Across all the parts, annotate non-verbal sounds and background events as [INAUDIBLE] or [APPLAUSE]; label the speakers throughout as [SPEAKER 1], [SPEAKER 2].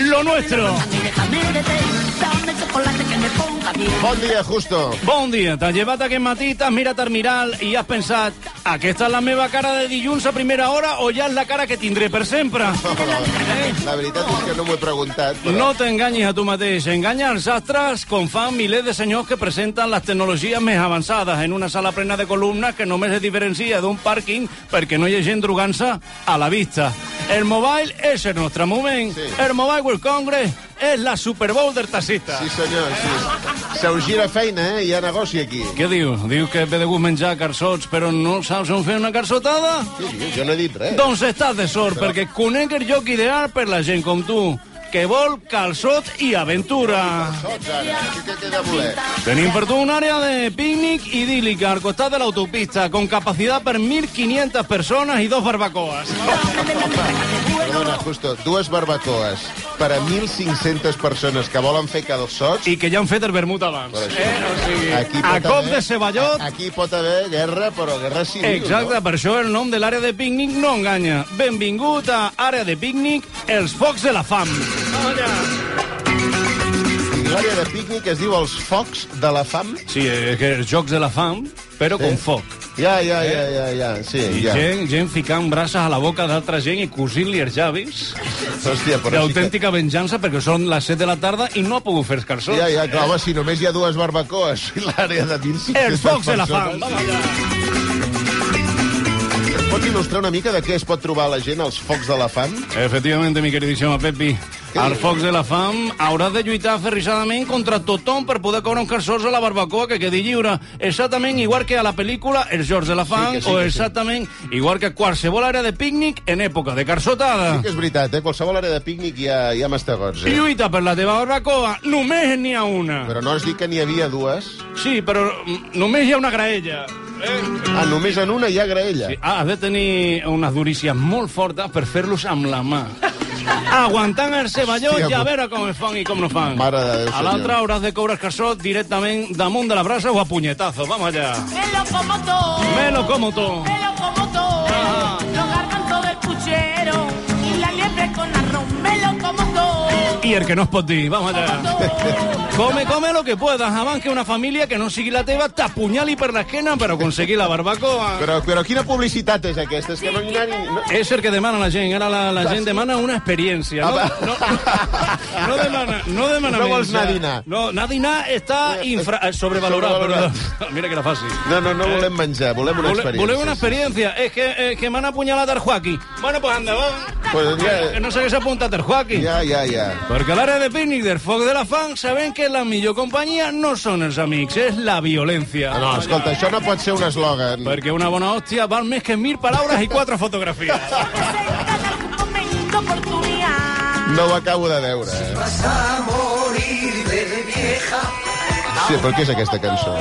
[SPEAKER 1] lo nuestro.
[SPEAKER 2] Bon dia, Justo.
[SPEAKER 1] Bon dia, t'has llevat aquest matí, t'has mirat al mirall i has pensat aquesta és la meva cara de dilluns a primera hora o ja és la cara que tindré per sempre?
[SPEAKER 2] La veritat és que no m'ho he preguntat, però...
[SPEAKER 1] No t'enganyis a tu mateix, enganya els astres com fan milers de senyors que presenten les tecnologies més avançades en una sala plena de columnes que només es diferencia d'un pàrquing perquè no hi ha gent drogant-se a la vista. El mobile és el nostre moment.
[SPEAKER 2] Sí.
[SPEAKER 1] El Mobile World Congress és la Super Bowl del taxista.
[SPEAKER 2] Sí, senyor, sí. Se us gira feina, eh? Hi ha negoci aquí.
[SPEAKER 1] Què dius? Dius que ve de gust menjar carçots, però no saps on fer una carçotada?
[SPEAKER 2] Sí, sí, jo no he dit res.
[SPEAKER 1] Doncs estàs de sort, perquè conec el lloc ideal per la gent com tu, que vol calçot i aventura.
[SPEAKER 2] Sots, ara. Què- Què queda voler?
[SPEAKER 1] Tenim per tu un àrea de pícnic idíl·lica al costat de l'autopista, amb capacitat per 1.500 persones i dos barbacoas.
[SPEAKER 2] Perdona, Justo, dues barbacoes per a 1.500 persones que volen fer calçots...
[SPEAKER 1] I que ja han fet el vermut abans.
[SPEAKER 2] Però això-
[SPEAKER 1] Eh? O sigui, a
[SPEAKER 2] pot
[SPEAKER 1] cop
[SPEAKER 2] haver-
[SPEAKER 1] de ceballot...
[SPEAKER 2] a- Aquí pot haver guerra, però guerra civil,
[SPEAKER 1] Exacte, per això el nom de l'àrea de pícnic no enganya. Benvingut a Àrea de Pícnic, els focs de la fam.
[SPEAKER 2] no? I L'àrea de pícnic es diu els focs de la fam.
[SPEAKER 1] Sí, és que els jocs de la fam, però
[SPEAKER 2] Sí.
[SPEAKER 1] com foc.
[SPEAKER 2] Ja, ja, ja, ja, ja, sí,
[SPEAKER 1] I
[SPEAKER 2] ja.
[SPEAKER 1] gent, gent ficant braces a la boca d'altra gent i cosint-li els llavis
[SPEAKER 2] Hòstia, però sí que...
[SPEAKER 1] d'autèntica venjança perquè són les 7 de la tarda i no ha pogut fer els calçons.
[SPEAKER 2] Ja, ja, clar, home, si només hi ha dues barbacoes i l'àrea de 1.500
[SPEAKER 1] Eh, Els focs de la fam.
[SPEAKER 2] persones. Pots il·lustrar una mica de què es pot trobar la gent als focs de la fam?
[SPEAKER 1] Efectivamente, mi queridíssima Pepi, al Focs de la Fam hauràs de lluitar aferrissadament contra tothom per poder coure un calçós a la barbacoa que quedi lliure. Exactament igual que a la pel·lícula Els Jords de la Fam
[SPEAKER 2] que sí,
[SPEAKER 1] o
[SPEAKER 2] que sí.
[SPEAKER 1] exactament igual que qualsevol àrea de pícnic en època de carçotada.
[SPEAKER 2] Que és veritat, eh? Qualsevol àrea de pícnic hi ha, hi ha mastegots, eh?
[SPEAKER 1] Lluita per la teva barbacoa, només n'hi ha una.
[SPEAKER 2] Però no has dit que n'hi havia dues?
[SPEAKER 1] Sí, però mm, només hi ha una graella.
[SPEAKER 2] Ah, només en una hi ha graella.
[SPEAKER 1] Sí, ah, has de tenir unes durícies molt fortes per fer-los amb la
[SPEAKER 2] [LAUGHS]
[SPEAKER 1] mà. Aguantant el ceballó
[SPEAKER 2] Hòstia,
[SPEAKER 1] i a veure com es fan i com no fan.
[SPEAKER 2] Mare de Déu,
[SPEAKER 1] a l'altra
[SPEAKER 2] senyor.
[SPEAKER 1] hauràs de coure el calçot directament damunt de la brasa o a punyetazo. Vamos allá.
[SPEAKER 3] Velo como todo,
[SPEAKER 1] Melo como tú.
[SPEAKER 3] velo como todo.
[SPEAKER 1] Ah.
[SPEAKER 3] Los garbanzos del puchero y la liebre con arroz. Velo como todo,
[SPEAKER 1] I el que no es pot dir. Vamos allá.
[SPEAKER 3] como todo.
[SPEAKER 1] Come, come lo que puedas, abans que una família que no sigui la teva t'apunyali per l'esquena per aconseguir la barbacoa.
[SPEAKER 2] Però, però quina publicitat és aquesta? És que no n'hi ha ni... No...
[SPEAKER 1] És el que demana la gent. Ara la, la gent demana una experiència. No,
[SPEAKER 2] Ah,
[SPEAKER 1] no, no, no demana, no demana
[SPEAKER 2] No vols
[SPEAKER 1] menjar.
[SPEAKER 2] anar a dinar.
[SPEAKER 1] No, anar a dinar està infra, eh, sobrevalorat.
[SPEAKER 2] Sobrevalorat.
[SPEAKER 1] Però, [LAUGHS] mira que era fàcil.
[SPEAKER 2] No, no, no volem menjar, volem una
[SPEAKER 1] Vole,
[SPEAKER 2] experiència.
[SPEAKER 1] voleu una experiència? És que, eh, que m'han apunyalat el Joaquí. Bueno, pues endavant.
[SPEAKER 2] Pues
[SPEAKER 1] Que
[SPEAKER 2] ja,
[SPEAKER 1] no sé què s'ha apuntat el Joaquí.
[SPEAKER 2] ja, ja, ja.
[SPEAKER 1] Perquè a l'àrea de pícnic del foc de la fang sabem que la millor companyia no són els amics, és la violència.
[SPEAKER 2] Ah, No, escolta, això no pot ser un eslògan.
[SPEAKER 1] Perquè una bona hòstia val més que mil paraules i quatre
[SPEAKER 2] [LAUGHS]
[SPEAKER 1] fotografies.
[SPEAKER 3] Representan algún momento oportunidad.
[SPEAKER 2] No ho acabo de veure. eh?
[SPEAKER 4] Vas a morir de vieja.
[SPEAKER 2] Sí, però què és aquesta cançó?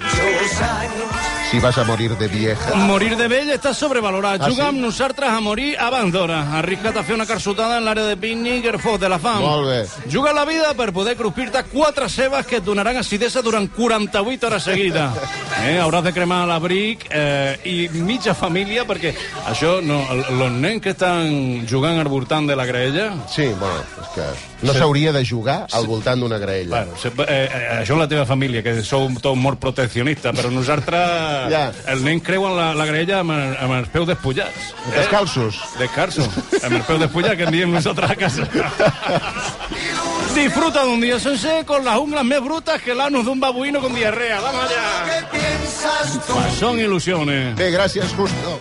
[SPEAKER 4] Los años
[SPEAKER 2] Si vas a morir de vieja.
[SPEAKER 1] Morir de vell està sobrevalorat.
[SPEAKER 2] Ah,
[SPEAKER 1] Juga
[SPEAKER 2] sí?
[SPEAKER 1] amb nosaltres a morir abans d'hora. Arrisca't a fer una carsotada en l'àrea de pícnic i el foc de la fam.
[SPEAKER 2] Molt bé.
[SPEAKER 1] Juga la vida per poder cruspir-te quatre cebes que et donaran acidesa durant 48 hores seguida.
[SPEAKER 2] [LAUGHS]
[SPEAKER 1] Eh, hauràs de cremar l'abric eh, i mitja família, perquè això, no, els nens que estan jugant al voltant de la graella,
[SPEAKER 2] Sí, bueno, és que no s'hauria de jugar al voltant d'una graella.
[SPEAKER 1] Bueno, se- eh, eh, això és la teva família, que sou tots molt proteccionistes, però nosaltres,
[SPEAKER 2] Ja.
[SPEAKER 1] el nen creuen la, la graella amb, el- amb els peus despullats.
[SPEAKER 2] Descalços.
[SPEAKER 1] Descarso, amb el peu despullat que en diem nosaltres a casa. Disfruta d'un dia sencer con las unglas més brutas que l'anus d'un babuino con diarrea. Vamos allá.
[SPEAKER 4] que piensas tú.
[SPEAKER 1] Son ilusiones.
[SPEAKER 2] Bé, gràcies, Justo.